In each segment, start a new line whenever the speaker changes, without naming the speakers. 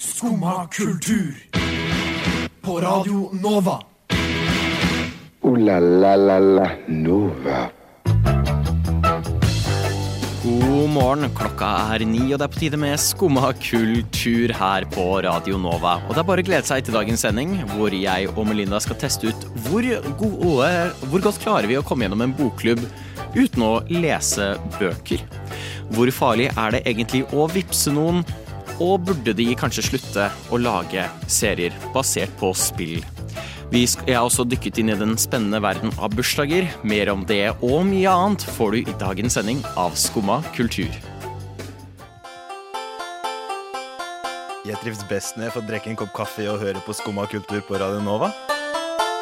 Skumma kultur. På Radio Nova.
Ooh la la la la Nova.
God morgen, klokka er ni, og det er på tide med skumma kultur her på Radio Nova. Og det er bare å glede seg til dagens sending, hvor jeg og Melinda skal teste ut hvor, gode, hvor godt klarer vi å komme gjennom en bokklubb uten å lese bøker. Hvor farlig er det egentlig å vippse noen, og burde de kanskje slutte å lage serier basert på spill? Vi sk- jeg har også dykket inn i den spennende verden av bursdager. Mer om det og mye annet får du i dagens sending av Skumma kultur.
Jeg trives best når jeg får drikke en kopp kaffe og høre på Skumma kultur på Radio Nova.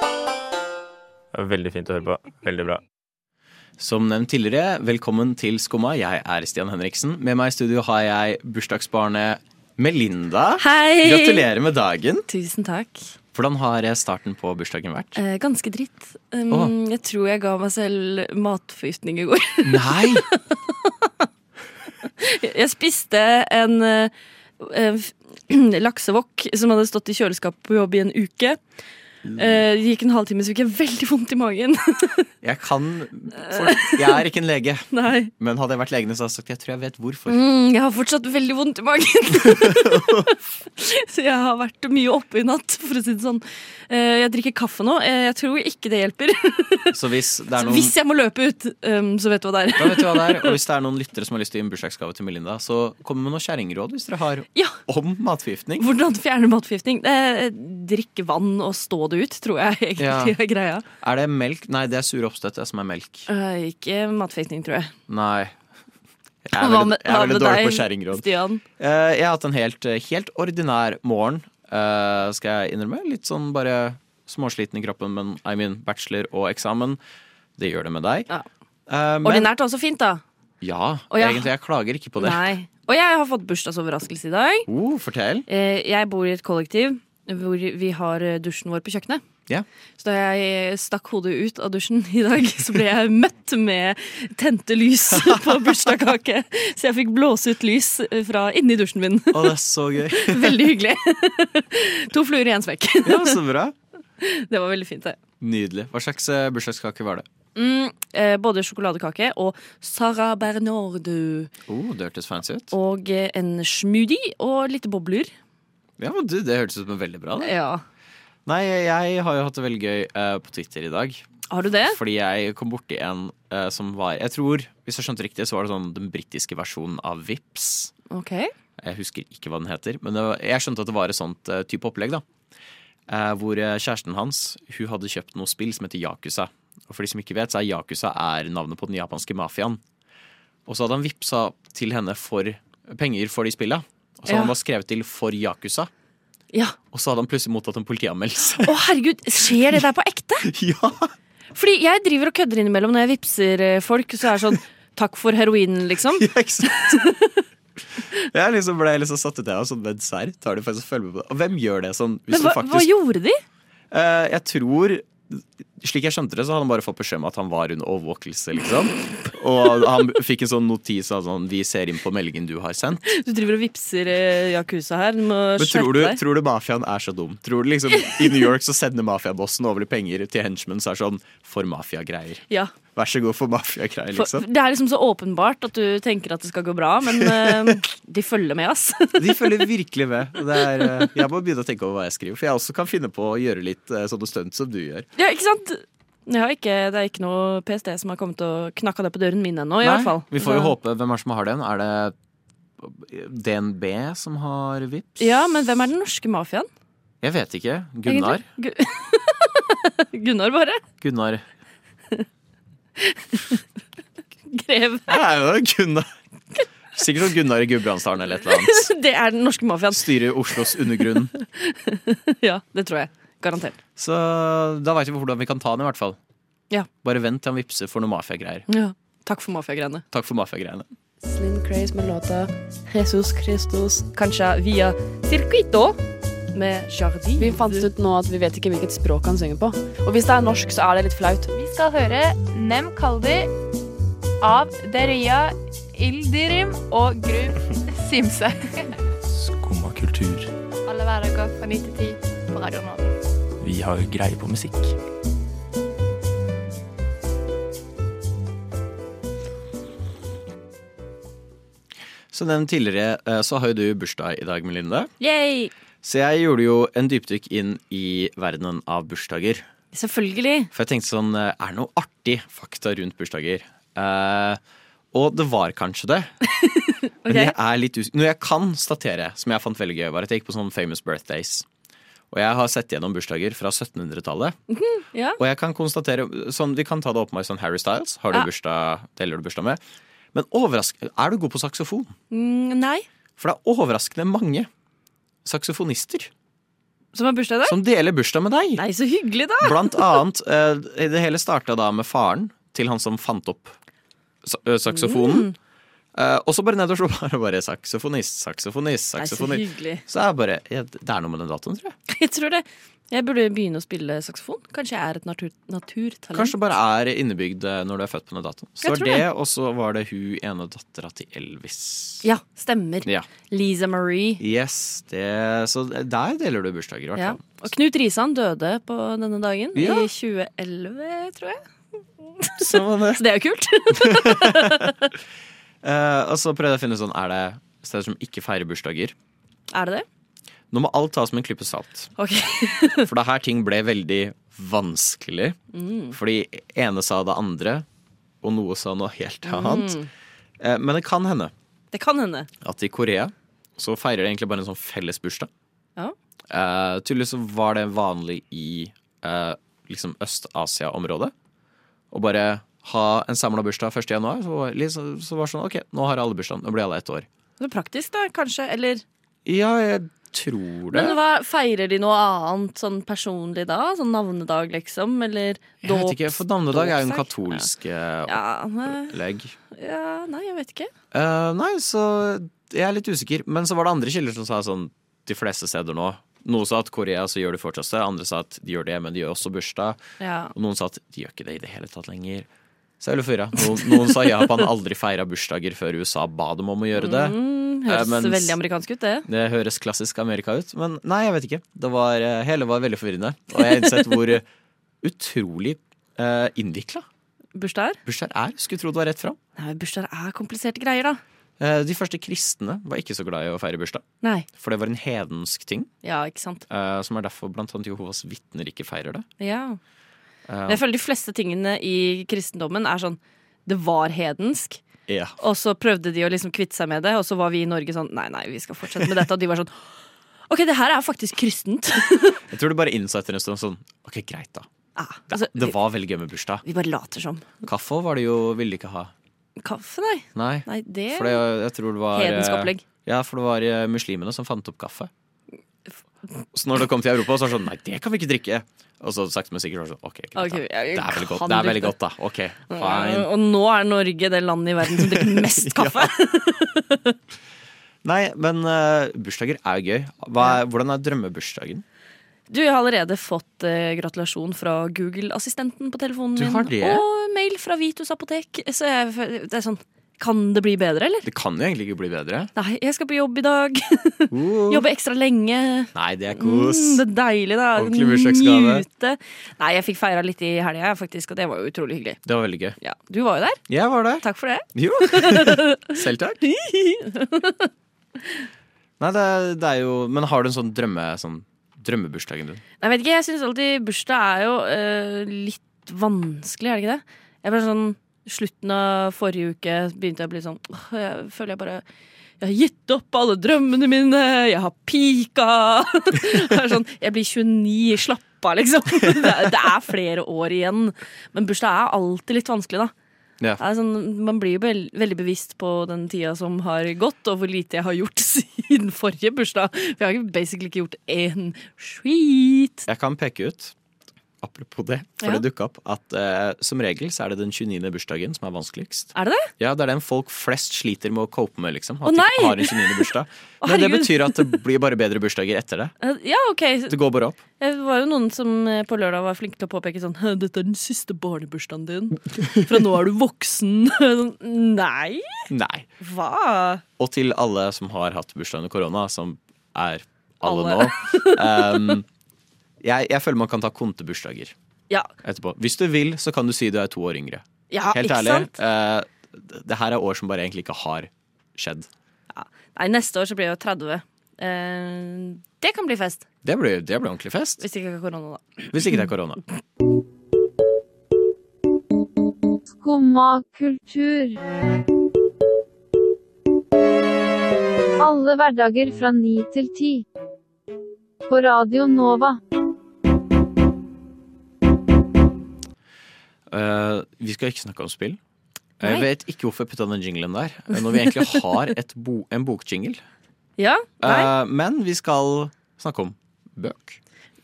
Det var Veldig fint å høre på. Veldig bra.
Som nevnt tidligere, velkommen til Skumma. Jeg er Stian Henriksen. Med meg i studio har jeg bursdagsbarnet Melinda.
Hei!
Gratulerer med dagen.
Tusen takk.
Hvordan har eh, starten på bursdagen vært?
Eh, ganske dritt. Um,
Åh.
Jeg tror jeg ga meg selv matforgiftning i går.
Nei!
Jeg spiste en eh, eh, f- laksevokk som hadde stått i kjøleskapet på jobb i en uke. Eh, det gikk en halvtime, så fikk jeg veldig vondt i magen.
Jeg kan for, Jeg er ikke en lege,
Nei.
men hadde jeg vært legene, så hadde jeg sagt jeg tror jeg vet hvorfor.
Mm, jeg har fortsatt veldig vondt i magen. så jeg har vært mye oppe i natt, for å si det sånn. Eh, jeg drikker kaffe nå. Eh, jeg tror ikke det hjelper.
Så hvis det er noen
Hvis jeg må løpe ut, um, så vet du hva det er.
Da vet du hva det er, og Hvis det er noen lyttere som har lyst til å gi en bursdagsgave til Melinda, så kom med noen kjerringråd hvis dere har
Ja.
om matforgiftning.
Hvordan fjerne matforgiftning? Eh, drikke vann og stå det ut, tror jeg egentlig
Ja.
er greia.
Er det melk? Nei, det er sure oppstøtte som er melk.
Eh, ikke matforgiftning, tror jeg.
Nei. Jeg er
Hva
veldig,
med-
jeg er
hva
veldig
med
dårlig på
deg,
kjerringråd.
Stian?
Eh, Jeg har hatt en helt, helt ordinær morgen, eh, skal jeg innrømme. Litt sånn bare småsliten i kroppen, men I mean bachelor og eksamen. Det gjør det med deg.
Ja.
Eh, Men
Ordinært er også fint, da.
ja,
Å, ja.
egentlig. Jeg klager ikke på det.
Nei. Og jeg har fått bursdagsoverraskelse i dag.
Oh, fortell.
Eh, jeg bor i et kollektiv hvor vi har eh, dusjen vår på kjøkkenet.
Ja.
Så da jeg eh, stakk hodet ut av dusjen i dag, så ble jeg møtt med tente lys på bursdagskake. Så jeg fikk blåse ut lys fra inni dusjen min.
Å, det er så gøy.
Veldig hyggelig. To fluer i én smekk.
Ja, så bra.
Det var veldig fint, det.
Nydelig. Hva slags eh, bursdagskake var det?
Eh, både sjokoladekake og Sarah Bernardu.
Oh, det hørtes fancy ut.
Og eh, en smoothie og litt bobler.
Ja, men du, Det hørtes ut som veldig bra. Det.
Ja.
Nei, jeg har jo hatt det veldig gøy eh, på Twitter i dag.
Har du det?
Fordi jeg kom borti en eh, som var Jeg tror, hvis jeg skjønte riktig, så var det sånn den britiske versjonen av Vips.
Ok.
Jeg husker ikke hva den heter, men det var, jeg skjønte at det var et sånt eh, type opplegg. da Eh, Hvor eh, kjæresten hans hun hadde kjøpt noe spill som heter Yakuza. Og for de som ikke vet, så er Yakuza er navnet på den japanske mafiaen. Og så hadde han vippsa til henne for penger for de spilla. Og så hadde
Ja.
han bare skrevet til 'for Yakuza',
Ja.
og så hadde han plutselig mottatt en politianmeldelse.
Å, herregud, skjer det der på ekte?
ja!
Fordi jeg driver og kødder innimellom når jeg vippser eh, folk, så er det sånn Takk for heroinen, liksom.
Ja, ikke sant? Jeg liksom ble liksom satt ut av sånn, men serr, tar du faktisk og følger med på det? Og hvem gjør det sånn? Hvis
Men
du
hva,
faktisk,
hva gjorde de?
Eh, jeg tror slik jeg skjønte det, så hadde han bare fått beskjed om at han var under overvåkelse. liksom. Og han fikk en sånn notis av sånn 'Vi ser inn på meldingen du har sendt'.
Du driver og vippser eh, Yakuza her. Du må
Men tror
skjerpe
du,
deg.
tror du mafiaen er så dum? Tror du liksom I New York så sender mafiabossen over litt penger til henchmen så er det sånn 'For mafiagreier'.
Ja.
Vær så god for mafiagreier,
For,
liksom.
Det er liksom så åpenbart at du tenker at det skal gå bra, men eh, de følger med, ass.
De følger virkelig med. Og det er, eh, jeg må begynne å tenke over hva jeg skriver, for jeg også kan finne på å gjøre litt eh, sånne stunt som du gjør.
Ja, ikke sant? Jeg har ikke, det er ikke noe PST som har kommet og knakka det på døren min ennå. i hvert fall.
Vi får jo
Så-
håpe. Hvem er det som har den? Er det DNB som har VIPs?
Ja, Men hvem er den norske mafiaen?
Jeg vet ikke. Gunnar?
egentlig? Gu- Gunnar, bare.
Gunnar.
Greve.
Ja, det er jo Gunnar. Sikkert noen Gunnar i Gudbrandsdalen eller et eller annet.
Det er den norske mafiaen.
Styrer Oslos undergrunn.
Ja, det tror jeg. Garantert.
Så da veit vi hvordan vi kan ta den, i hvert fall.
Ja.
Bare vent til han vipser for noen mafiagreier.
Ja. Takk for mafiagreiene.
Takk for mafiagreiene.
Slim Craze med låta 'Jesus Christus Kanskje via Circuito med Jardin.
Vi fant ut nå at vi vet ikke hvilket språk han synger på. Og hvis det er norsk, så er det litt flaut.
Vi skal høre Nem Kaldi av Deria Ildirim og Gru Simse.
Skumma kultur.
Al hver dag fra 9 til 10 på Radio Nova.
Vi har greie på musikk.
Som nevnt tidligere, eh, så har jo du bursdag i dag, Melinda.
Yay!
Så jeg gjorde jo en dypdykk inn i verdenen av bursdager.
Selvfølgelig.
For jeg tenkte sånn, eh, er det noe artig fakta rundt bursdager? Eh, og det var kanskje det. Men jeg er litt usikker. Noe jeg kan statere, som jeg fant veldig gøy, var at jeg gikk på sånn famous birthdays. Og jeg har sett gjennom bursdager fra 1700-tallet.
ja.
Og jeg kan konstatere, sånn, vi kan ta det åpenbart sånn Harry Styles, har du
Ja.
bursdag, deler du bursdag med? Men overrask, er du god på saksofon?
Mm, nei.
For det er overraskende mange saksofonister
Som har bursdag i dag?
som deler bursdag med deg.
Nei, så hyggelig, da!
Blant annet, eh, det hele starta da med faren til han som fant opp sa- ø, saksofonen.
Mm.
Eh, og så bare ned og slå bare, bare saksofonist, saksofonist,
Nei, så
saksofonist.
hyggelig.
Så er det bare, ja, det er noe med den datoen, tror jeg.
Jeg tror det. Jeg burde begynne å spille saksofon. Kanskje jeg er et natur naturtalent.
Kanskje det bare er innebygd eh, når du er født på den datoen. Så
Jeg
var
tror
det,
det.
og så var det hun ene dattera til Elvis.
Ja, stemmer.
Ja.
Lisa Marie.
Yes, det, så der deler du bursdager, i hvert
Ja.
fall.
Og Knut Risan døde på denne dagen,
Ja.
i 2011, tror jeg.
Så, eh,
Så det er jo kult.
eh, og så prøvde jeg å finne sånn, er det steder som ikke feirer bursdager?
er det det?
Nå må alt tas med en klype salt.
Ok.
For det her ting ble veldig vanskelig.
Mm.
Fordi ene sa det andre, og noe sa noe helt
Mm.
annet. Eh, Men det kan hende
Det kan hende.
at i Korea så feirer de egentlig bare en sånn felles bursdag.
Ja.
Eh, tydeligvis så var det vanlig i eh, liksom Øst-Asia-området. Å bare ha en samla bursdag 1. januar. Så var, liksom, så var det sånn, ok, nå har alle bursdag. Nå blir alle ett år.
Så praktisk, da, kanskje. Eller
Ja, jeg tror det.
Men hva feirer de noe annet sånn personlig da? Sånn navnedag, liksom? Eller
jeg vet ikke,
dåps-
For navnedag er jo en
dåpsdag?
katolsk eh,
Ja, nei,
opplegg.
ja, nei, jeg vet ikke.
Eh, nei, så jeg er litt usikker. Men så var det andre kilder som sa sånn de fleste steder nå. Noen sa at Korea så gjør det fortsatt det, andre sa at de gjør det, men de gjør også bursdag.
Ja.
Og noen sa at de gjør ikke det i det hele tatt lenger. Så jeg ble forvirra. Noen, noen sa Japan aldri feira bursdager før USA ba dem om å gjøre det.
Mm,
Eh,
høres
mens-
veldig amerikansk ut, det.
Det høres klassisk Amerika ut, men nei, jeg vet ikke. Det var, eh, hele var veldig forvirrende. Og jeg har innsett hvor eh, utrolig uh, innvikla
Bursdager?
bursdager er. Skulle tro det var rett fram.
Nei, bursdager er kompliserte greier, da.
Eh, de første kristne var ikke så glad i å feire bursdag,
Nei.
for det var en hedensk ting.
Ja, ikke sant.
Eh, som er derfor blant annet Jehovas vitner ikke feirer det.
Ja. Men
Eh,
jeg føler de fleste tingene i kristendommen er sånn Det var hedensk,
ja.
og så prøvde de å liksom kvitte seg med det, og så var vi i Norge sånn Nei, nei, vi skal fortsette med dette. Og de var sånn OK, det her er faktisk kristent.
Jeg tror du bare innså etter en stund sånn Ok, greit, da.
Ja,
Det,
altså,
det
vi,
var veldig gøy med bursdag.
vi bare later som.
Kaffe var det jo ville de ikke ha.
Kaffe, nei.
Nei.
Nei, det
For det, jeg tror det var eh,
Hedensk opplegg.
Ja, for det var eh, muslimene som fant opp kaffe. Så når det kom til Europa, så var det sånn Nei, det kan vi ikke drikke. Og så sakte, men sikkert var det sånn OK, greit,
Ok,
da.
jeg
Det er veldig godt,
kan
det er
drikke
veldig godt da. OK, fine.
Og nå er Norge det landet i verden som drikker mest kaffe.
Nei, men eh, bursdager er jo gøy. Hva er, hvordan er drømmebursdagen?
Du jeg har allerede fått eh, gratulasjon fra Google-assistenten på telefonen
Du
min.
har det?
Og mail fra Vitus apotek. Så jeg, føler- det er sånn Kan det bli bedre, eller?
Det kan jo egentlig ikke bli bedre.
Nei, jeg skal på jobb i dag.
Uh.
Jobbe ekstra lenge.
Nei, det er
Mm,
kos.
det er deilig, da.
Ordentlig bursdagsgave.
Njute. Nei, jeg fikk feira litt i helga, faktisk, og det var jo utrolig hyggelig.
Det var veldig gøy.
Ja, Du var jo der.
Jeg var det.
Takk for det.
Jo. Selv takk. Nei, det, er- det er jo Men har du en sånn drømme sånn drømmebursdagen din?
Jeg vet ikke, jeg syns alltid bursdag er jo eh, litt vanskelig, er det ikke det? Jeg ble sånn Slutten av forrige uke begynte jeg å bli sånn åh, Jeg føler jeg bare Jeg har gitt opp alle drømmene mine, jeg har pika Det er sånn, Jeg blir 29, slapp av, liksom. Det er, det er flere år igjen. Men bursdag er alltid litt vanskelig, da.
Ja.
Det er sånn, man blir jo vel- veldig bevisst på den tida som har gått, og hvor lite jeg har gjort siden forrige bursdag. For jeg har jo basically ikke gjort en skit.
Jeg kan peke ut, apropos det, for
Ja.
det dukka opp, at eh, som regel så er det den 29. bursdagen som er vanskeligst.
Er det det?
Ja, Det er den folk flest sliter med å cope med, liksom. At
Å,
de
nei!
ikke har en 29. bursdag. Men det
herregud.
betyr at det blir bare bedre bursdager etter det.
Eh, Ja, ok.
Det går bare opp.
Det var jo noen som eh, på lørdag var flinke til å påpeke sånn «Hæ, 'Dette er den siste barnebursdagen din. Fra nå er du voksen.' Sånn, Nei?
Nei.
Hva?
Og til alle som har hatt bursdag under korona, som er alle nå.
Alle.
Um, jeg, jeg føler man kan ta kontebursdager
Ja,
etterpå. Hvis du vil, så kan du si du er to år yngre.
ja
Helt
ikke
ærlig.
sant?
eh, d- det her er år som bare egentlig ikke har skjedd.
Nei, neste år så blir jeg jo 30. Eh, det kan bli fest.
Det blir, det blir ordentlig fest.
Hvis ikke korona, da.
Hvis ikke det er korona.
Skumma kultur. Alle hverdager fra ni til ti. På Radio Nova.
Eh, vi skal ikke snakke om spill.
Nei.
Jeg vet ikke hvorfor jeg putta den jinglen der, eh, når vi egentlig har et bo, en bokjingle.
Ja, nei.
Eh, men vi skal snakke om bøk.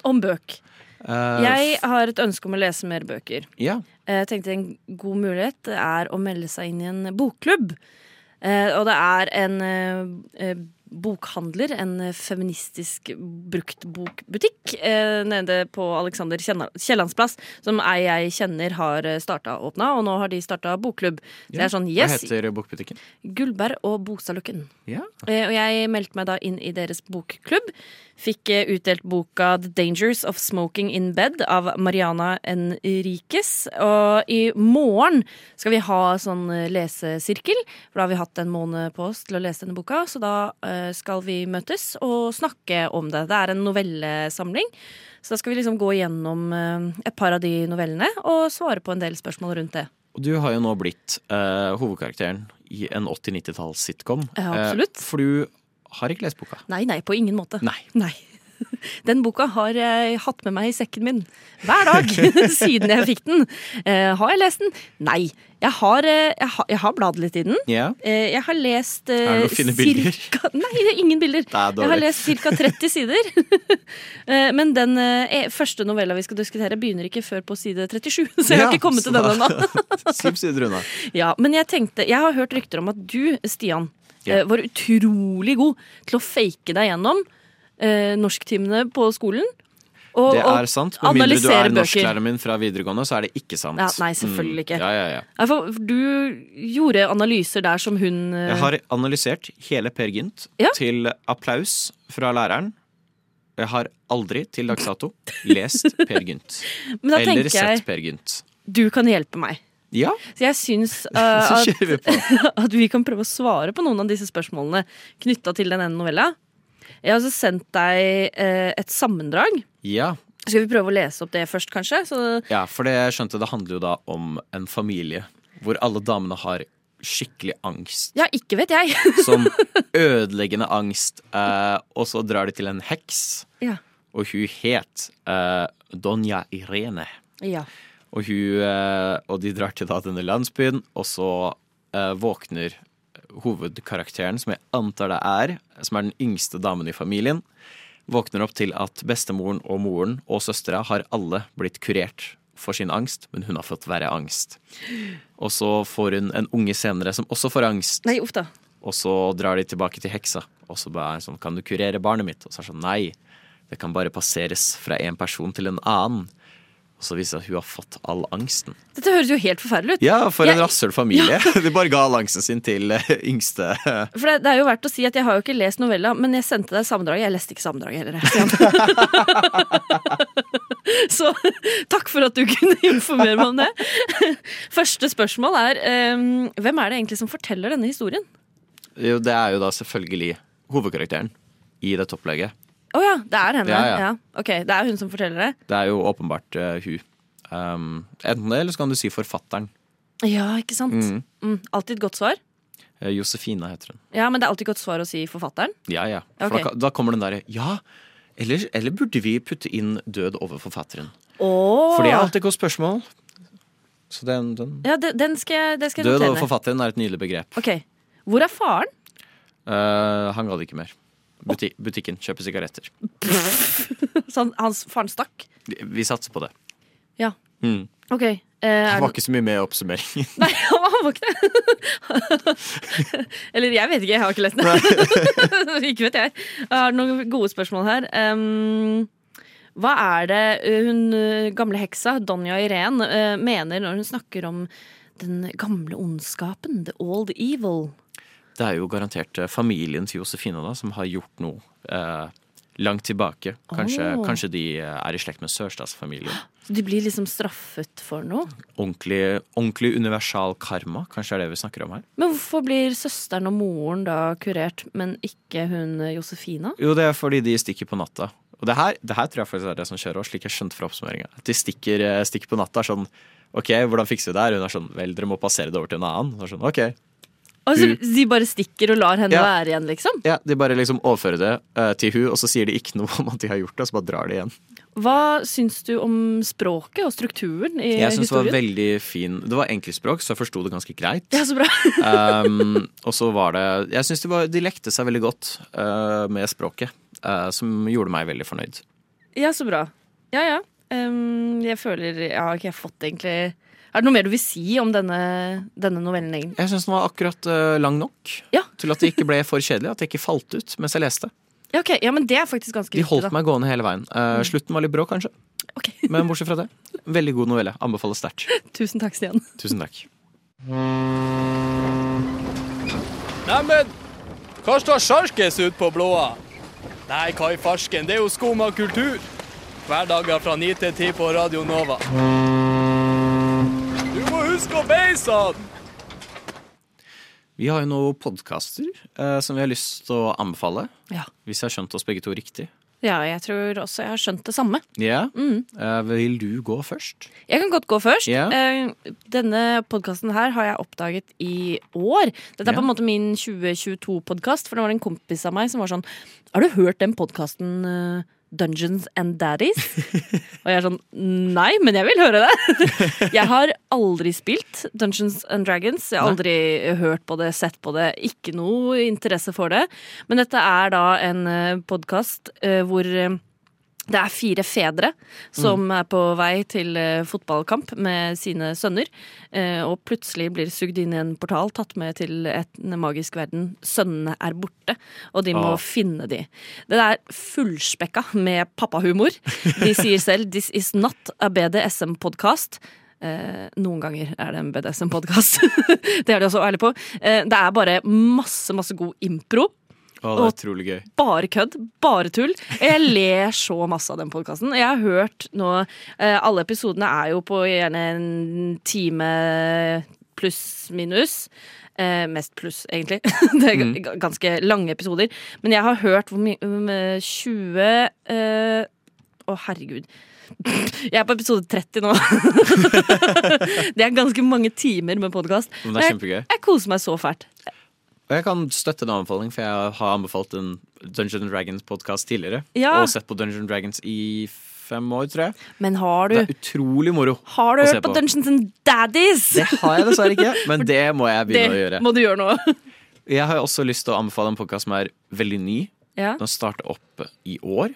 Om bøk.
Eh,
Jeg har et ønske om å lese mer bøker.
ja.
Eh, Jeg tenkte en god mulighet er å melde seg inn i en bokklubb. Eh, Og det er en eh, eh, bokhandler, en eh, feministisk bruktbokbutikk, eh, nede på Alexander Kjenna- Kiellands plass, som ei jeg kjenner har eh, starta åpna, og nå har de starta bokklubb. Så jeg er sånn
Hva
yes,
heter bokbutikken?
Gullberg og Bogstadløkken.
Ja.
Eh, Og jeg meldte meg da inn i deres bokklubb. Fikk eh, utdelt boka The Dangers of Smoking in Bed av Mariana Enriquez. Og i morgen skal vi ha sånn eh, lesesirkel, for da har vi hatt en måned på oss til å lese denne boka. Så da eh, skal vi møtes og snakke om det. Det er en novellesamling. Så da skal vi liksom gå igjennom eh, et par av de novellene og svare på en del spørsmål rundt det.
Og du har jo nå blitt eh, hovedkarakteren i en 80-90-talls-sitcom.
Ja, absolutt.
Eh, for du har ikke lest boka.
Nei, nei, på ingen måte.
Nei.
Nei. Den boka har jeg hatt med meg i sekken min hver dag siden jeg fikk den. Eh, har jeg lest den? Nei. Jeg har, eh, jeg har, jeg har bladd litt i den.
Ja.
Eh, jeg har lest eh,
Er det å finne bilder?
Cirka, nei, det er ingen bilder.
er dårlig.
Jeg har lest ca. 30 sider. Eh, Men den eh, første novella vi skal diskutere, begynner ikke før på side 37. Så jeg har
Ja,
ikke kommet
så
til den
da-
ennå.
Syv sider unna.
Ja, men jeg tenkte Jeg har hørt rykter om at du, Stian,
Ja.
eh, var utrolig god til å fake deg gjennom eh, norsktimene på skolen. Og,
Det
og-
er sant. Med mindre du
analysere
er
bøker.
norsklæreren min fra videregående, så er det ikke sant. Mm.
Ja, nei, selvfølgelig ikke.
Ja, ja, ja.
Ja, for du gjorde analyser der som hun eh,
Jeg har analysert hele Per Gynt
Ja.
til applaus fra læreren. Jeg har aldri til dags dato lest Per Gynt.
Men da
Eller
tenker jeg
sett Per Gynt.
du kan hjelpe meg.
Ja,
Så jeg syns eh,
så
at,
kjører vi på.
at vi kan prøve å svare på noen av disse spørsmålene knytta til den ene novella. Jeg har også sendt deg eh, et sammendrag.
Ja,
Skal vi prøve å lese opp det først, kanskje? Så,
ja, for det jeg skjønte, det handler jo da om en familie hvor alle damene har skikkelig angst.
ja, ikke vet jeg.
Sånn ødeleggende angst. Eh, og så drar de til en heks,
Ja.
og hun het eh, Donja Irene.
ja.
Og, hun, eh, og de drar til da denne landsbyen, og så eh, våkner hovedkarakteren, som jeg antar det er, som er den yngste damen i familien, våkner opp til at bestemoren og moren og søstera har alle blitt kurert for sin angst, men hun har fått verre angst. Og så får hun en unge senere som også får angst,
Nei, uff da.
og så drar de tilbake til heksa, og så bare er det sånn, kan du kurere barnet mitt? Og så er det sånn, nei, det kan bare passeres fra en person til en annen. Og så viser det at hun har fått all angsten.
Dette høres jo helt forferdelig ut.
Ja, for
Jeg-
en rassøl familie. De bare ga all angsten sin til eh, yngste.
For det, det er jo verdt å si at jeg har jo ikke lest novella, men jeg sendte deg sammendraget. Jeg leste ikke sammendraget heller. jeg, Stian. Så takk for at du kunne informere meg om det. Første spørsmål er ehm, hvem er det egentlig som forteller denne historien?
Jo, det er jo da selvfølgelig hovedkarakteren i det topplegget.
Å ja, det er henne.
Ja, ja.
Ok, det er hun som forteller det.
Det er jo åpenbart eh, hun. Um, enten det, eller så kan du si forfatteren.
Ja, ikke sant? Mm. alltid godt svar.
Eh, Josefina heter hun.
Ja, men det er alltid godt svar å si forfatteren.
Ja, ja. For
Ok.
da, ka- da kommer den derre Ja, eller, eller burde vi putte inn død over forfatteren?
Oh.
For det er alltid et godt spørsmål. Så den, den.
ja, det, den skal jeg, det skal jeg
Død
notere
over
ned.
forfatteren er et nydelig begrep.
Ok, Hvor er faren?
Eh, han ga det ikke mer. Buti butikken. Kjøpe sigaretter.
Så han, Sånn, hans, faren stakk?
Vi, vi satser på det.
Ja.
Mm.
Ok. eh, er
Det var ikke så mye med i oppsummeringen.
Nei, han var han var ikke det. Eller jeg vet ikke, jeg har ikke lest den. ikke vet jeg. Jeg har noen gode spørsmål her. Um, hva er det hun uh, gamle heksa, Donja Irén, uh, mener når hun snakker om den gamle ondskapen, the old evil?
Det er jo garantert eh, familien til Josefine da, som har gjort noe eh, Langt tilbake. Kanskje,
Åh.
kanskje de eh, er i slekt med sørstatsfamilien.
Så de blir liksom straffet for noe.
Ordentlig, ordentlig universal karma, kanskje er det vi snakker om her.
Men hvorfor blir søsteren og moren da kurert, men ikke hun eh, Josefina?
Jo, det er fordi de stikker på natta. Og det her, det her tror jeg faktisk er det som skjer òg, slik jeg skjønte fra oppsummeringa. At de stikker, eh, stikker på natta sånn OK, hvordan fikser vi det her? Hun er sånn Vel, dere må passere det over til en annen. Og sånn, OK.
Altså,
Hun-
De bare stikker og lar henne
Mm. Ja.
være igjen, liksom?
Ja, de bare liksom overfører det eh, til hun, og så sier de ikke noe om at de har gjort det, og så bare drar de igjen.
Hva syns du om språket og strukturen i
Jeg syns det var
Eh, historien?
veldig fin Det var enkeltspråk, så jeg forsto det ganske greit.
Ja, så bra.
Ehm, og så var det Jeg syns de, var- de lekte seg veldig godt eh, med språket, eh, som gjorde meg veldig fornøyd.
Ja, så bra. Ja, ja. Ehm, jeg føler Jeg har ikke fått egentlig Er det noe mer du vil si om denne, denne novellen, egentlig?
Jeg syns den var akkurat eh, lang nok
Ja.
til at det ikke ble for kjedelig. At jeg ikke falt ut mens jeg leste.
Ja, ok. ja, men det er faktisk ganske
De holdt
viktig, da. Mm.
meg gående hele veien. Eh, slutten var litt brå, kanskje,
Ok.
men bortsett fra det. Veldig god novelle. Anbefales sterkt.
Tusen takk, Stian.
Tusen takk.
Neimen, hva står sjarkes ut på blåa? Nei, hva i farsken, det er jo skum av kultur. Hverdager fra 9 til 10 på Radio Nova. Du må huske å beise han!
Vi har jo noen podkaster eh, som vi har lyst til å anbefale.
Ja.
Hvis jeg har skjønt oss begge to riktig.
Ja, jeg tror også jeg har skjønt det samme.
Ja.
Mm.
Eh, vil du gå først?
Jeg kan godt gå først.
Ja.
Eh, Denne podkasten her har jeg oppdaget i år. Dette er
Ja.
på en måte min 2022-podkast, for det var en kompis av meg som var sånn Har du hørt den podkasten Dungeons and Daddies? Og jeg er sånn Nei, men jeg vil høre det! jeg har aldri spilt Dungeons and Dragons. Jeg har aldri hørt på det, sett på det. Ikke noe interesse for det. Men dette er da en podkast hvor eh, det er fire fedre som er på vei til eh, fotballkamp med sine sønner, eh, og plutselig blir sugd inn i en portal, tatt med til en magisk verden. Sønnene er borte, og de må
Ah.
finne de. Det er fullspekka med pappahumor. De sier selv 'This is not a BDSM-podkast'. Eh, noen ganger er det en BDSM-podkast. det er de også ærlige på. Eh, det er bare masse, masse god impro
Å, det
Og-
er utrolig gøy.
bare kødd, bare tull. Jeg ler så masse av den podkasten. Jeg har hørt nå eh, Alle episodene er jo på gjerne en time pluss minus. Eh, mest pluss, egentlig. Det er ga- ga- ganske lange episoder. Men jeg har hørt hvor mye um, eh, 20 eh, Å, herregud. Jeg er på episode 30 nå. det er ganske mange timer med podkast.
Men det er kjempegøy.
Jeg koser meg så fælt.
Og jeg kan støtte en anbefaling, for jeg har anbefalt en Dungeon Dragons-podkast tidligere.
Ja.
Og sett på Dungeon Dragons i fem år, tror jeg.
Men har du,
Det er utrolig moro.
har du
å se
hørt på
på.
Dungeons and Daddies?
Det har jeg dessverre ikke, men det må jeg
Det
begynne å gjøre.
må du gjøre nå.
Jeg har også lyst til å anbefale en podkast som er veldig ny.
Ja.
Den starter opp i år.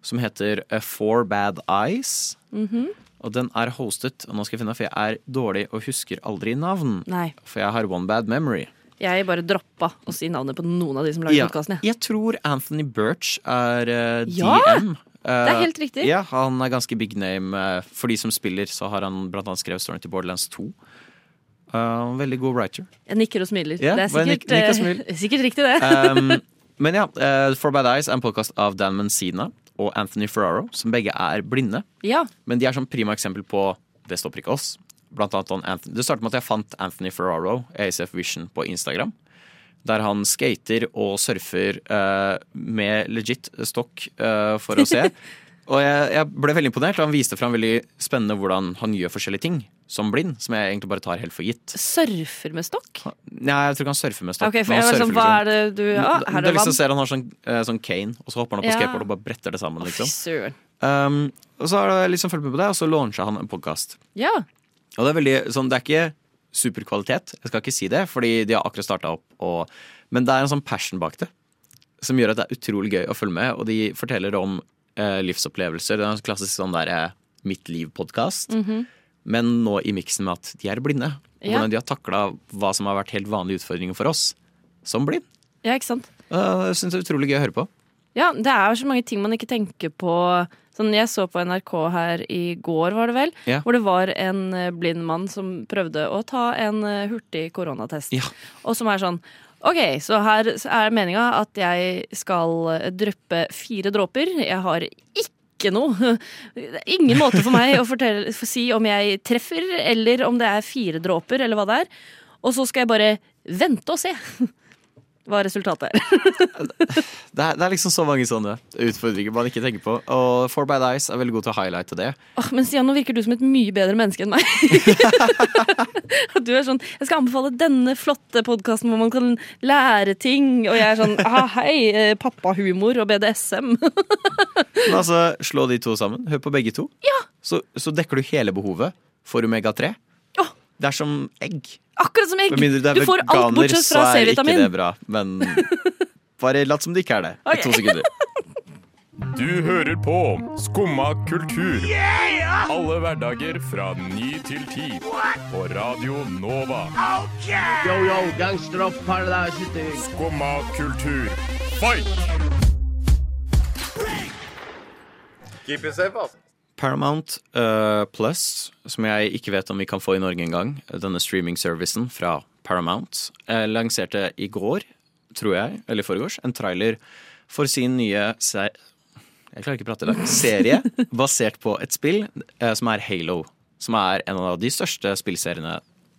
Som heter A Four Bad Eyes.
Mhm.
Og den er hostet, og nå skal jeg finne, for jeg er dårlig og husker aldri navn.
Nei,
For jeg har one bad memory.
jeg bare droppa å si navnet på noen av de som lager
Ja.
podkasten.
Jeg tror Anthony Birch er eh,
Ja,
DM.
Det er helt riktig.
Ja, han er ganske big name. eh, For de som spiller, så har han blant annet skrevet storyen til Borderlands 2. Eh, veldig god writer.
Jeg nikker og smiler.
Ja,
det
bare
er sikkert,
nikk- nikk og
eh,
smil.
sikkert riktig, det.
Um, men ja, eh, For Bad Eyes er en podkast av Dan Menzina og Anthony Ferraro, som begge er blinde.
ja.
Men de er som prima eksempel på Det stopper ikke oss. Blant annet han Anthony. Det startet med at jeg fant Anthony Ferraro, ASF Vision, på Instagram. Der han skater og surfer eh, med legit stokk eh, for å se. Og jeg, jeg ble veldig imponert. og Han viste fram veldig spennende hvordan han gjør forskjellige ting som blind. Som jeg egentlig bare tar helt for gitt.
Surfer med stokk?
Nei, jeg tror ikke han surfer med stokk.
Ok, for
men
jeg
han
var
surfer
sånn, Hva
liksom-
er det du ah,
det,
Her
det er
er
liksom
vann.
ser han har sånn, eh, sånn cane, og så hopper han opp på
Ja.
skateboard og bare bretter det sammen.
Å, Fy
Liksom.
søren.
Um, og så har jeg liksom fulgt med på det, og så launcha han en podkast.
Ja.
Og det er veldig sånn, det er ikke superkvalitet, jeg skal ikke si det, fordi de har akkurat starta opp, og, men det er en sånn passion bak det. Som gjør at det er utrolig gøy å følge med, og de forteller om eh, livsopplevelser. Det er en sånn klassisk sånn der eh, Mitt liv-podkast. Men nå i miksen med at de er blinde. Og
Mhm. Ja.
hvordan de har takla hva som har vært helt vanlige utfordringer for oss som blind.
ja, ikke sant?
Eh, Jeg synes det er utrolig gøy å høre på.
Ja, det er jo så mange ting man ikke tenker på. Sånn, jeg så på NRK her i går, var det vel,
Ja.
hvor det var en eh, blind mann som prøvde å ta en eh, hurtig koronatest.
Ja.
Og som er sånn Ok, så her er meninga at jeg skal eh, dryppe fire dråper. Jeg har ikke noe. Det er ingen måte for meg å fortelle, for si om jeg treffer, eller om det er fire dråper, eller hva det er. Og så skal jeg bare vente og se hva resultatet er.
Det er, det er liksom så mange sånne utfordringer man ikke tenker på. Og Four by Dice er veldig god til å highlighte det.
Åh, men Stian, nå virker du som et mye bedre menneske enn meg. At du er sånn Jeg skal anbefale denne flotte podkasten hvor man kan lære ting, og jeg er sånn ah, Hei, eh, pappahumor og BDSM.
Men altså, slå de to sammen. Hør på begge to. Så, så dekker du hele behovet for omega-3.
Ja.
Det er som egg.
Akkurat som egg!
Med mindre det er
Du får alt
veganer,
bortsett
så
fra
er ikke
C-vitamin.
det bra. Men bare lat som det ikke er det. I To
Ok.
sekunder.
Du hører på Skumma kultur. Alle hverdager fra ny til ti. På Radio Nova.
Yo, yo, gangsterrock paradise city.
Skumma kultur. Fight!
Keep it safe, ass.
Paramount eh, Plus, som jeg ikke vet om vi kan få i Norge engang, denne streaming-servicen fra Paramount, eh, lanserte i går, tror jeg, eller i forgårs, en trailer for sin nye se jeg klarer ikke å prate i dag. Serie basert på et spill eh, som er Halo. Som er en av de største spillseriene,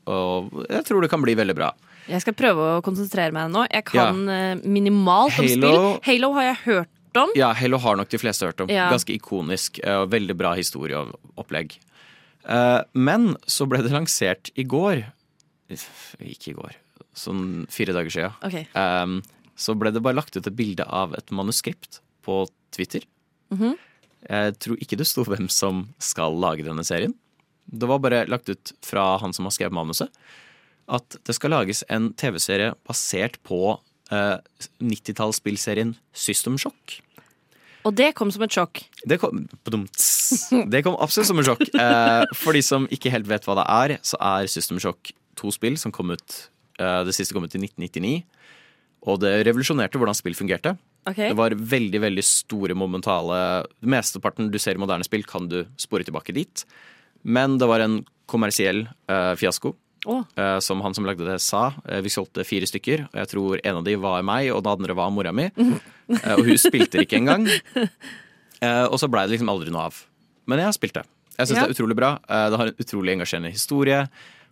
og jeg tror det kan bli veldig bra.
Jeg skal prøve å konsentrere meg nå. Jeg kan eh, minimalt om
Halo-
spill. Halo har jeg hørt om.
Ja, Halo har nok de fleste hørt om.
Ja.
Ganske ikonisk eh, og veldig bra historie og opplegg. Eh, Men så ble det lansert i går Ikke i går, sånn fire dager siden.
Ok.
Em, så ble det bare lagt ut et bilde av et manuskript på Twitter.
Mhm.
Jeg tror ikke det sto hvem som skal lage denne serien. Det var bare lagt ut fra han som har skrevet manuset, at det skal lages en TV-serie basert på eh, 90-tallsspillserien System Shock.
Og det kom som et sjokk.
Det kom, badum, tss. det kom absolutt som en sjokk. Eh, for de som ikke helt vet hva det er, så er System Shock to spill som kom ut eh, Det siste kom ut i 1999. Og det revolusjonerte hvordan spill fungerte.
Ok.
Det var veldig veldig store momentale Mesteparten du ser i moderne spill, kan du spore tilbake dit. Men det var en kommersiell eh, fiasko.
Å.
Eh, som han som lagde det, sa. Eh, vi solgte fire stykker. Og jeg tror en av de var meg, og den andre var mora mi. Eh, og hun spilte det ikke engang. Eh, og så blei det liksom aldri noe av. Men jeg har spilt det. Jeg syns
Ja.
det er utrolig bra. Eh, det har en utrolig engasjerende historie.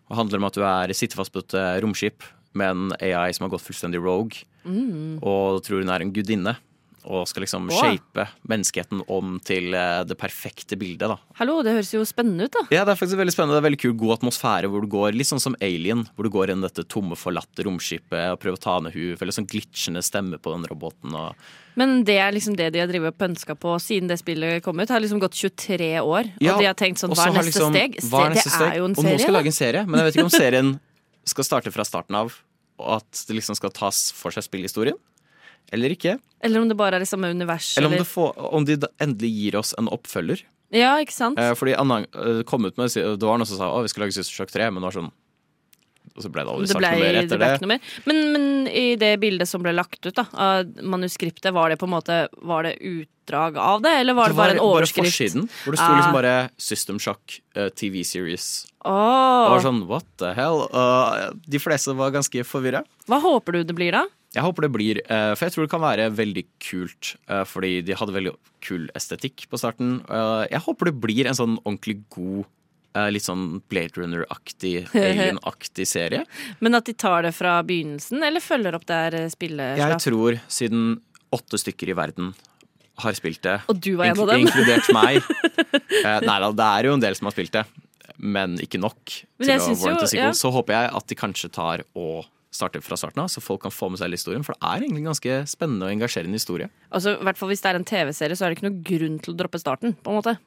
Og handler om at du er sitter fast på et eh, romskip med en AI som har gått fullstendig rogue,
Mm.
og tror hun er en gudinne. Og skal liksom
Åh.
shape menneskeheten om til eh, det perfekte bildet, da.
Hallo, det høres jo spennende ut, da.
Ja, det er faktisk veldig spennende. Det er veldig kul, god atmosfære hvor du går litt sånn som Alien. Hvor du går inn i dette tomme, forlatte romskipet og prøver å ta ned henne. Eller sånn glitchende stemme på den roboten. Og
Men det er liksom det de har drevet og pønska på siden det spillet kom ut. Har liksom gått 23 år,
Ja,
og de har tenkt sånn
og så
Hva er
har
neste
liksom-
steg? Se,
hva er neste
det
steg?
er jo en
Og
serie.
nå skal
da.
jeg lage en serie, men jeg vet ikke om serien skal starte fra starten av, og at det liksom skal tas for seg spillhistorien. Eller ikke.
Eller om det bare er liksom det samme univers.
Eller om, det får, om de da endelig gir oss en oppfølger.
Ja, ikke sant?
Eh, fordi annan, eh, kom ut med, det var noen som sa å, vi skulle lage Sister Shock 3, men det var sånn Og så ble det aldri
det
sagt
ble,
noe mer
det
etter
ble
det.
ikke noe mer. Men, men i det bildet som ble lagt ut, da, av manuskriptet, var det på en måte Var det utdrag av det, eller var det, bare en overskrift?
forsiden, hvor det sto liksom
Ah.
bare 'System Shock eh, TV Series'.
Åh.
Det var sånn what the hell? Og eh, de fleste var ganske forvirra.
Hva håper du det blir, da?
Jeg håper det blir, eh, for jeg tror det kan være veldig kult. eh, Fordi de hadde veldig kul estetikk på starten. Eh, Jeg håper det blir en sånn ordentlig god, eh, litt sånn Blade Runner-aktig, Alien-aktig serie.
Men at de tar det fra begynnelsen, eller følger opp der eh, spillet
Jeg
slapp?
tror siden åtte stykker i verden har spilt det,
Og du var en av
ink-
dem.
inkludert meg eh, Nei da, det er jo en del som har spilt det, men ikke nok
Men
til
jeg
å
synes jo-
warrante sequel.
ja.
Så håper jeg at de kanskje tar og starter fra starten av, så folk kan få med seg hele historien. For det er egentlig en ganske spennende og engasjerende historie.
Altså, i hvert fall Hvis det er en TV-serie, så er det ikke noen grunn til å droppe starten. på en måte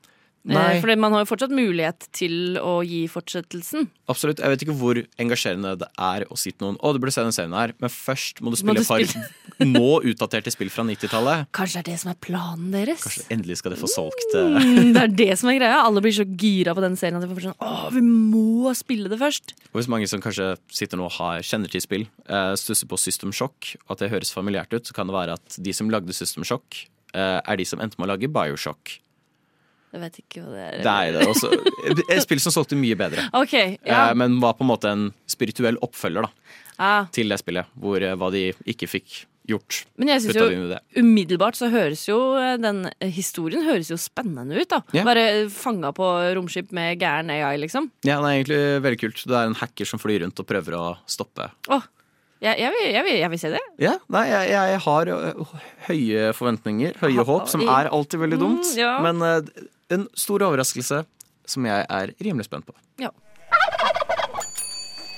Nei.
Eh, Fordi Man har jo fortsatt mulighet til å gi fortsettelsen.
Absolutt. Jeg vet ikke hvor engasjerende det er å si til noen Å, du burde se den serien her, men først må du
Må
spille
du
et par
spille-
nå utdaterte spill fra 90-tallet.
Kanskje det er det som er planen deres?
Endelig skal de få solgt eh,
Mm, det er det som er greia. Alle blir så gira på den serien at de får sånn Å, vi må spille det først!
Og hvis mange som kanskje sitter nå og har, kjenner til spill, eh, stusser på System Shock, og at det høres familiært ut, så kan det være at de som lagde System Shock, eh, er de som endte med å lage Bioshock.
Jeg vet ikke hva det er.
Det er det også. Et spill som solgte mye bedre.
OK. Ja.
Eh, men var på en måte en spirituell oppfølger, da.
Ah.
til det spillet, hvor eh, hva de ikke fikk gjort.
Men jeg synes
putta det inn i
jo
det.
umiddelbart så høres jo eh, den historien høres jo spennende ut, da.
Ja.
Være fanga på romskip med gæren AI, liksom.
Ja, det er egentlig eh, veldig kult. Det er en hacker som flyr rundt og prøver å stoppe.
Åh, jeg, jeg, vil, jeg, vil, jeg vil se det.
Ja, nei, jeg, jeg har ø, høye forventninger, høye håp, som er alltid veldig dumt.
Mm, ja.
Men ø, en stor overraskelse som jeg er rimelig spent på.
Ja.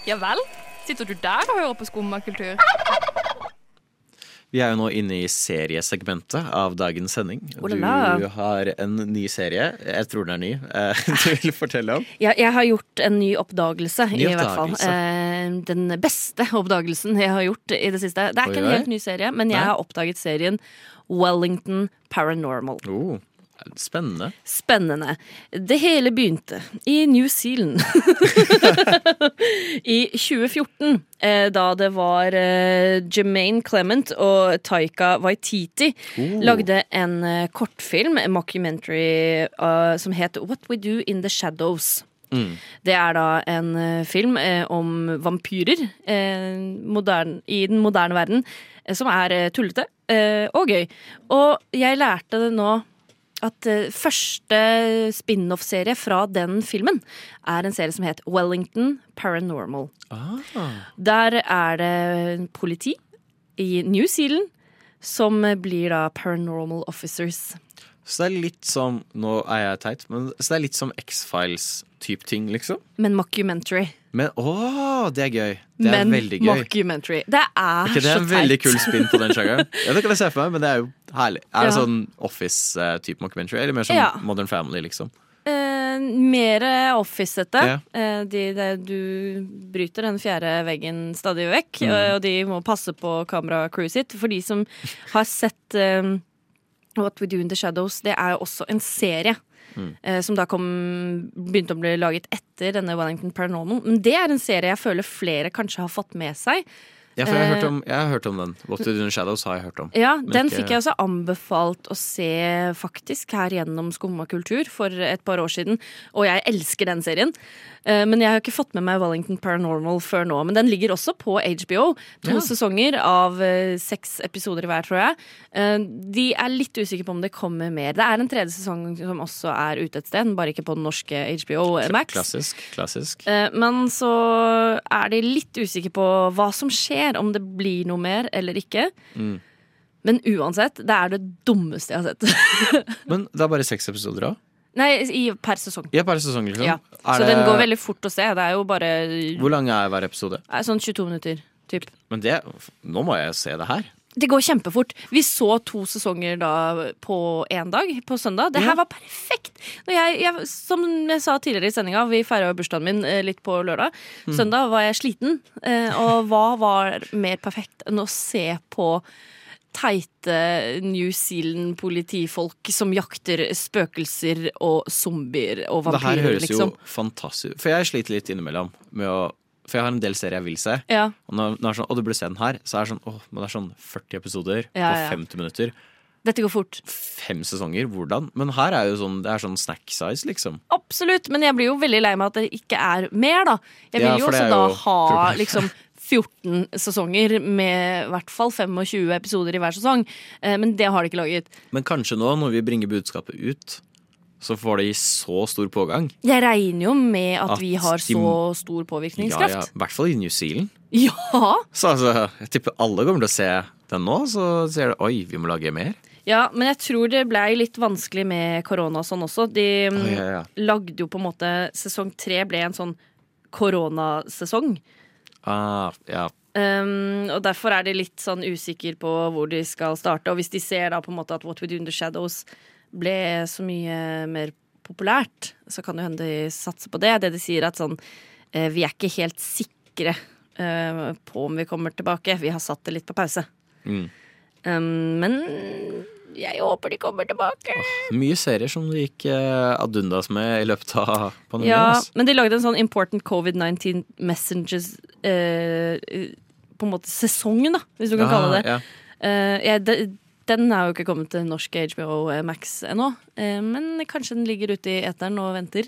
Ja vel? Sitter du der og hører på skummakultur?
Vi er jo nå inne i seriesegmentet av dagens sending.
Oh la la.
Du har en ny serie. Jeg tror den er ny. eh, Du vil fortelle om.
Jeg, jeg har gjort en ny oppdagelse,
Ny
i hvert fall.
oppdagelse.
Eh, den beste oppdagelsen jeg har gjort i det siste. Det er ikke
Oi, oi.
en helt ny serie, men jeg
Nei.
har oppdaget serien Wellington Paranormal.
Oh, spennende.
Spennende. Det hele begynte i New Zealand i 2014, eh, da det var eh, Jermaine Clement og Taika Waititi
Oh.
lagde en eh, kortfilm, en mockumentary, eh, som het What We Do In The Shadows. Det er da en eh, film eh, om vampyrer eh, modern, i den moderne verden, eh, som er eh, tullete eh, og gøy. Og jeg lærte det nå at eh, første spin-off-serie fra den filmen er en serie som het Wellington Paranormal.
Ah.
Der er det politi i New Zealand som blir da paranormal officers.
Så det er litt som Nå er jeg teit, men så det er litt som X-Files-type ting, liksom.
Men mockumentary.
Men å, det er gøy. Det er
men
veldig gøy.
mockumentary. Det er,
Er ikke det
så
en
teit.
veldig kul spinn på den sjangeren? Ja, det kan jeg se for meg, men det er jo herlig. Er det
Ja.
sånn Office-type mockumentary, eller mer sånn
Ja.
Modern Family, liksom?
Eh, mer office-ete.
Ja.
Eh, de, de, du bryter den fjerde veggen stadig vekk, eh,
Mm.
og- og de må passe på kameracrewet sitt. For de som har sett eh, What We Do In The Shadows, det er jo også en serie.
Mm.
eh, Som da kom, begynte å bli laget etter denne Wellington Paranormal. Men det er en serie jeg føler flere kanskje har fått med seg.
Ja, for jeg har,
Eh,
hørt om, jeg har hørt om den. What to do in the shadows har jeg hørt om.
ja,
Men
den
ikke-
fikk jeg også anbefalt å se faktisk her gjennom Skumma kultur for et par år siden, og jeg elsker den serien. Eh, Men jeg har ikke fått med meg Wellington Paranormal før nå. Men den ligger også på HBO. To
Ja.
sesonger av eh, seks episoder hver, tror jeg. Eh, De er litt usikre på om det kommer mer. Det er en tredje sesong som også er ute et sted, men bare ikke på den norske HBO eh, Max.
Klassisk. klassisk.
Eh, Men så er de litt usikre på hva som skjer, om det blir noe mer eller ikke.
Mm.
Men uansett, det er det dummeste jeg har sett.
Men det er bare seks episoder av?
Nei, i, per sesong.
Ja, per sesong, liksom.
Ja.
Er
Så
det-
den går veldig fort å se. Det er jo bare
Hvor lang er hver episode?
eh, sånn 22 minutter. Typ.
Men det Nå må jeg se det her.
Det går kjempefort. Vi så to sesonger da på én dag, på søndag. Det her var perfekt! Når jeg, jeg, som jeg sa tidligere i sendinga, vi feira jo bursdagen min eh, litt på lørdag.
Mm.
Søndag var jeg sliten, eh, og hva var mer perfekt enn å se på teite New Zealand-politifolk som jakter spøkelser og zombier og
det her
vampyrer,
høres
liksom?
jo fantastisk ut. For jeg sliter litt innimellom med å For jeg har en del serier jeg vil se.
Ja.
Og når, når det er sånn, å, du burde se den her, så er det sånn, åh, men det er sånn 40 episoder
Ja,
på
ja.
50 minutter.
Dette går fort.
Fem sesonger, hvordan? Men her er jo sånn, det er sånn snack size, liksom.
Absolutt, men jeg blir jo veldig lei meg at det ikke er mer, da. Jeg vil
Ja,
jo
for det
også
er
da
jo
ha
problemet.
liksom 14 sesonger med i hvert fall 25 episoder i hver sesong, Eh, men det har de ikke laget.
Men kanskje nå, når vi bringer budskapet ut, så får de så stor pågang.
Jeg regner jo med at,
At
vi har
de-
så stor
Ja, ja,
påvirkningskraft.
I hvert fall i New Zealand.
Ja, ja.
Så altså, jeg tipper alle kommer til å se den nå, så sier de oi, vi må lage mer.
men jeg tror det blei litt vanskelig med korona og sånn også. De mm,
Å, ja, ja.
lagde jo på en måte Sesong tre ble en sånn koronasesong.
Ah, ja.
Um, og derfor er de litt sånn usikker på hvor de skal starte. Og hvis de ser da på en måte at What We Do In The Shadows ble så mye mer populært, så kan det hende de satser på det. Det de sier er at sånn eh, Vi er ikke helt sikre eh, på om vi kommer tilbake. Vi har satt det litt på pause.
Mm.
Um, men jeg håper de kommer tilbake.
Mye serier som det gikk eh, ad undas med i løpet av pandemien. altså.
Ja,
ass.
men de lagde en sånn Important COVID-19 Messengers eh, På en måte sesongen, da, hvis du kan
Ah,
kalle det.
ja.
Eh, jeg, de- den er jo ikke kommet til Eh, norsk HBO Max ennå, eh, men kanskje den ligger ute i eteren og venter.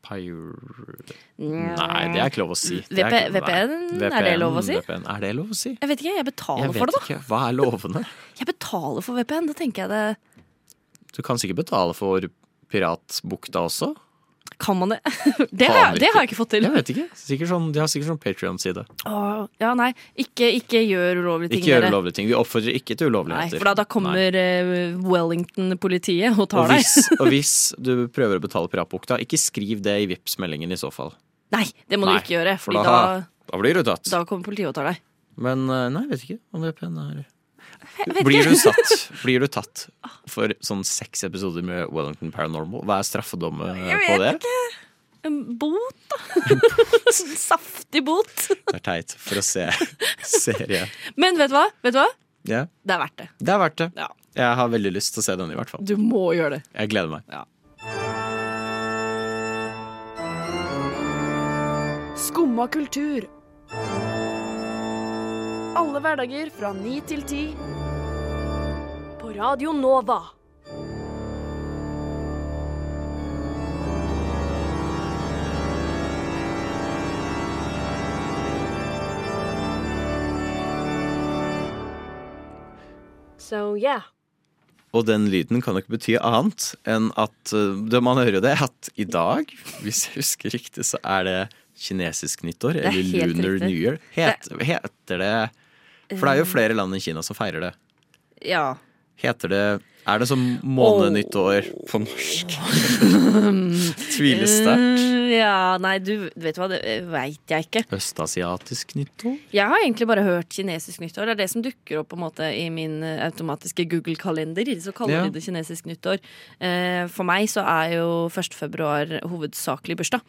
Pirate
Nja.
Nei, det er ikke lov å si. Det
VP
er ikke- nei.
VPN, er det lov å si?
VPN, er det lov å si?
Jeg vet ikke, jeg betaler
Jeg
for
vet
det, da.
ikke. Hva er lovene?
Jeg betaler for VPN, da tenker jeg det
Du kan sikkert betale for Piratbukta også.
Kan man det? Det har,
Aner
jeg- det har jeg ikke fått til.
Jeg vet ikke. Sikkert sånn, de har sikkert sånn Patrion-side.
Åh, ja, nei. Ikke, ikke gjør ulovlige ting,
Ikke gjør
dere.
ulovlige ting. Vi oppfordrer ikke til
Nei,
ulovligheter.
for da, da kommer eh, Wellington-politiet og tar
og hvis,
deg.
og hvis du prøver å betale Piratbukta, ikke skriv det i vips meldingen i så fall.
Nei, det må
Nei,
du ikke gjøre,
for
Fordi da,
da- da blir du tatt.
Da kommer politiet og tar deg.
Men eh, nei, jeg vet ikke om VPN er
Jeg vet
Blir
ikke.
du satt, blir du tatt for sånn seks episoder med Wellington Paranormal? Hva er straffedommen eh,
Jeg
på det?
vet ikke. En bot, da. En Saftig bot.
Det er teit for å se serie.
Men vet du hva? Vet du hva?
Ja.
Det er verdt det.
Det er verdt det.
Ja.
Jeg har veldig lyst til å se den i hvert fall.
Du må gjøre det.
Jeg gleder meg.
Skumma kultur. Alle hverdager fra ni til ti. På Radio Nova. So yeah.
Og den lyden kan jo ikke bety annet enn at eh, det man hører jo det, at i dag, hvis jeg husker riktig, så er det kinesisk nyttår,
Det er
eller
helt
lunar
riktig.
new year. Het, heter det For det er jo flere land enn Kina som feirer det.
Ja.
Heter det Er det som månenyttår på norsk? Tviler sterkt.
Eh, Ja, nei, du vet du hva, det veit jeg ikke.
Østasiatisk nyttår?
Jeg har egentlig bare hørt kinesisk nyttår. Det er det som dukker opp på en måte i min eh, automatiske Google-kalender. Så kaller
Ja.
de det kinesisk nyttår. Eh, For meg så er jo 1. februar hovedsakelig bursdag.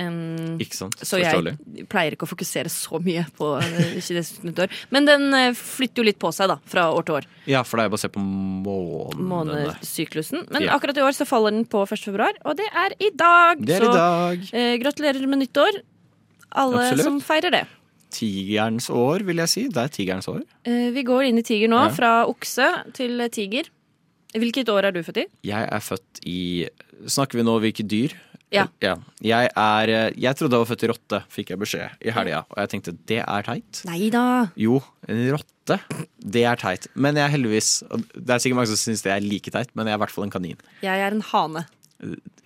Um,
Ikke sant?
Så
Forståelig.
jeg pleier ikke å fokusere så mye på eh, kinesisk nyttår. Men den eh, flytter jo litt på seg, da, fra år til år.
Ja, for det er jo basert på månedene.
Månedssyklusen. Men
Ja.
akkurat i år så faller den på 1. februar, og det er i dag!
Det er i
så
dag.
eh, gratulerer med nyttår, alle
Absolutt.
som feirer det.
Tigerens år, vil jeg si. Det er tigerens år.
Eh, vi går inn i tiger nå,
Ja.
fra okse til tiger. Hvilket år er du født i?
Jeg er født i Snakker vi nå hvilke dyr?
Ja.
Jeg, er, eh, jeg trodde jeg var født i rotte, fikk jeg beskjed i helga. Og jeg tenkte det er teit.
Nei da!
Jo, en rotte, det er teit. Men jeg er heldigvis og Det er sikkert mange som syns det er like teit, men jeg er i hvert fall en kanin.
Jeg er en hane.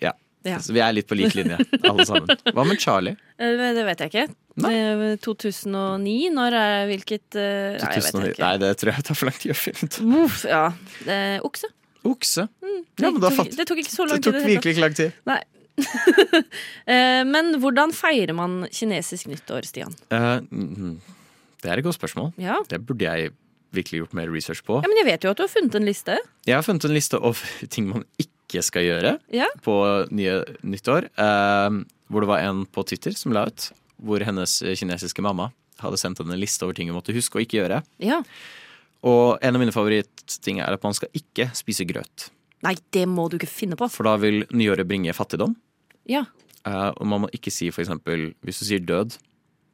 Ja.
Ja.
Så vi er litt på lik linje, alle sammen. Hva med Charlie?
Eh, men det vet jeg ikke. Eh, 2009? Når er hvilket eh, Nei, jeg vet ikke.
2009. Nei, det tror jeg tar for lang tid å finne ut.
Uff, ja. Eh, okse.
Okse.
Mm, Det,
Ja, men da
tok,
fatt-
det tok ikke så
Det
lang tid.
tok
i hele tatt.
virkelig ikke lang tid.
Nei. Eh, men hvordan feirer man kinesisk nyttår, Stian?
Eh, mhm. det er et godt spørsmål.
Ja.
Det burde jeg virkelig gjort mer research på.
ja, Men jeg vet jo at du har funnet en liste.
Jeg har funnet en liste over ting man ikke skal gjøre
Ja.
på nye nyttår. eh, hvor det var en på Twitter som la ut, hvor hennes kinesiske mamma hadde sendt henne en liste over ting hun måtte huske å ikke gjøre.
Ja.
Og en av mine favorittting er at man skal ikke spise grøt.
Nei, det må du ikke finne på.
For da vil nyåret bringe fattigdom.
Ja.
eh, og man må ikke si for eksempel, hvis du sier død,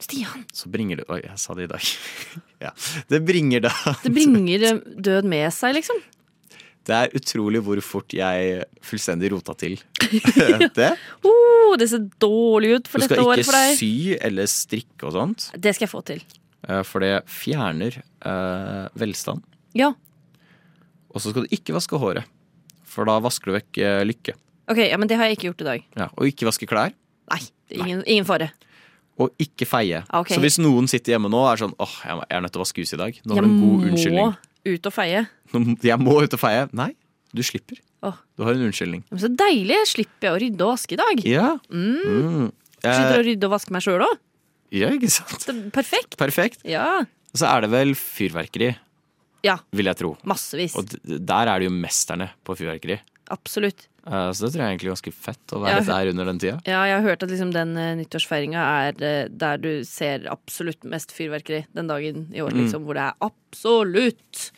Stian,
så bringer det Oi, jeg sa det i dag. ja. Det bringer da
det bringer eh, død med seg, liksom.
Det er utrolig hvor fort jeg fullstendig rota til det.
Oh, det ser dårlig ut for
Du
dette
skal
året for
ikke
deg.
sy eller strikke og sånt,
Det skal jeg få til.
eh, for det fjerner eh, velstand.
Ja.
Og så skal du ikke vaske håret, for da vasker du vekk eh, lykke.
Ok, ja, Men det har jeg ikke gjort i dag.
Ja, og ikke vaske klær,
Nei, det er ingen, ingen fare.
og ikke feie.
Ah, ok.
Så hvis noen sitter hjemme nå og er sånn åh, jeg må- jeg er nødt til å vaske huset i dag, nå har du
Jeg
en god
må
unnskyldning.
ut og feie.
Nå må- Jeg må ut og feie. Nei, du slipper.
Åh.
Du har en unnskyldning.
Men Så deilig! Slipper jeg å rydde og vaske i dag.
Ja.
Mm.
Mm. Eh,
Slipper å rydde og vaske meg sjøl òg.
ja, ikke sant?
Perfekt.
Perfekt.
Ja.
Og så er det vel fyrverkeri,
ja.
vil jeg tro.
Massevis.
Og d- der er det jo mesterne på fyrverkeri.
Absolutt.
Eh, Så det tror jeg egentlig er ganske fett å
Ja.
være der under den tida.
Ja, jeg har hørt at liksom den eh, nyttårsfeiringa er eh, der du ser absolutt mest fyrverkeri den dagen i år,
Mm.
liksom. Hvor det er absolutt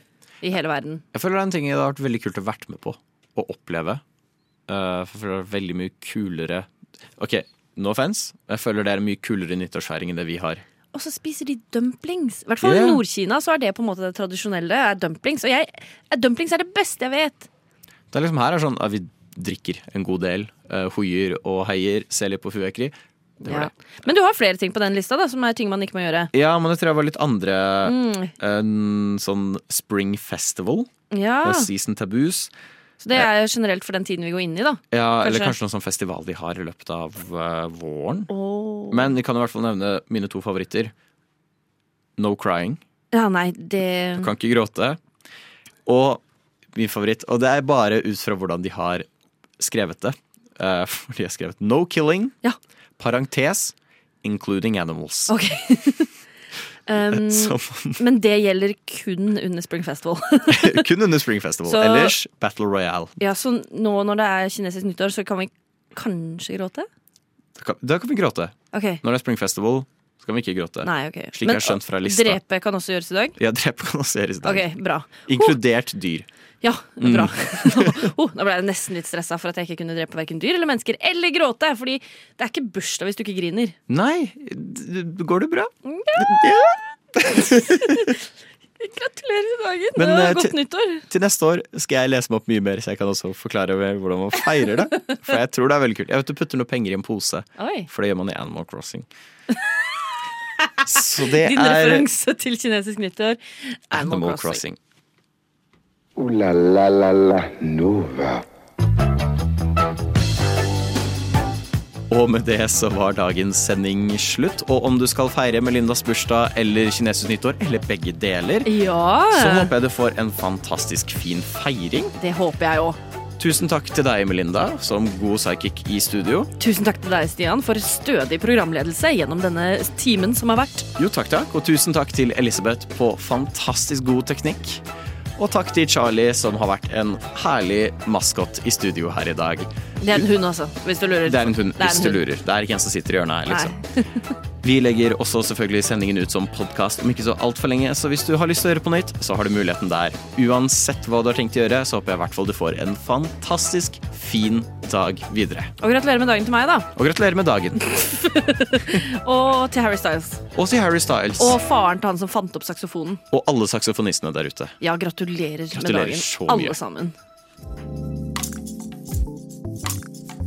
i hele verden.
Jeg føler det er en ting det har vært veldig kult å vært med på og oppleve. Eh, For jeg føler det er veldig mye kulere Ok, no offense, men jeg føler det er en mye kulere nyttårsfeiring enn det vi har.
Og så spiser de dumplings. I hvert fall
Ja.
i Nord-Kina så er det på en måte det tradisjonelle. er dumplings Og jeg, eh, dumplings er det beste jeg vet.
Det er liksom her er sånn, er vi drikker en god del, eh, hoier og heier, ser litt på fyrverkeri. Det var
Ja.
det.
Men du har flere ting på den lista da, som er ting man ikke må gjøre.
Ja, men det tror jeg var litt andre
Mm.
en sånn Spring Festival.
Ja.
eh, Season Taboos.
Så det er generelt for den tiden vi går inn i, da.
Ja, Eller
Kanskje.
kanskje noen sånn festival de har i løpet av eh, våren.
Åh.
Men vi kan i hvert fall nevne mine to favoritter. No Crying.
Ja, nei, det
Du kan ikke gråte. Og min favoritt, og det er bare ut fra hvordan de har skrevet det. Eh, For de har skrevet 'No killing', parentes, 'including animals'.
Ok. Um,
Som-
men det gjelder kun under Spring Festival.
Kun under Spring Festival.
Så-
Ellers Battle Royale.
ja, Så nå når det er kinesisk nyttår, så kan vi kanskje gråte?
Da kan, da kan vi gråte.
Ok.
Når det er Spring Festival, så kan vi ikke gråte.
Nei, ok.
Slik
Men
jeg har skjønt fra lista.
Drepe kan også gjøres i dag?
Ja, drepe kan også gjøres i dag.
Ok, bra.
Inkludert dyr.
Ja,
Mm.
bra. oh, nå ble jeg nesten litt stressa for at jeg ikke kunne drepe hverken dyr eller mennesker eller gråte. Fordi det er ikke bursdag hvis du ikke griner.
Nei, d- d- går det bra?
Gratulerer med dagen.
Men,
og
eh,
godt
til-
nyttår.
Til neste år skal jeg lese meg opp mye mer, så jeg kan også forklare mer hvordan man feirer det. For jeg tror det er veldig kult. Jeg vet du putter noen penger i en pose,
Oi.
for det gjør man i Animal Crossing. Så det
Din
er
referanse til kinesisk nyttår.
Animal Crossing.
Ooh la la la la Nova.
Og med det så var dagens sending slutt. Og om du skal feire Melindas bursdag eller kinesisk nyttår, eller begge deler, så
Ja,
håper jeg du får en fantastisk fin feiring.
det håper jeg òg.
Tusen takk til deg, Melinda, som god psychic i studio.
Tusen takk til deg, Stian, for stødig programledelse gjennom denne timen som har vært.
Jo, takk, takk. Og tusen takk til Elisabeth på fantastisk god teknikk. Og takk til Charlie, som har vært en herlig maskott i studio her i dag.
Det er en hund, altså, hvis du lurer.
Det er en hund,
Det er
hvis
en
du
hund.
lurer. Det er ikke en som sitter i hjørnet her, liksom.
Nei.
Vi legger også selvfølgelig sendingen ut som podkast om ikke så altfor lenge, så hvis du har lyst til å høre på nytt, så har du muligheten der. Uansett hva du har tenkt å gjøre, så håper jeg i hvert fall du får en fantastisk fin dag videre.
Og gratulerer med dagen til meg, da.
Og gratulerer med dagen.
Og til Harry Styles.
Og til Harry Styles.
Og faren til han som fant opp saksofonen.
Og alle saksofonistene der ute.
Ja, gratulerer, med
Gratulerer
dagen,
så mye.
alle sammen.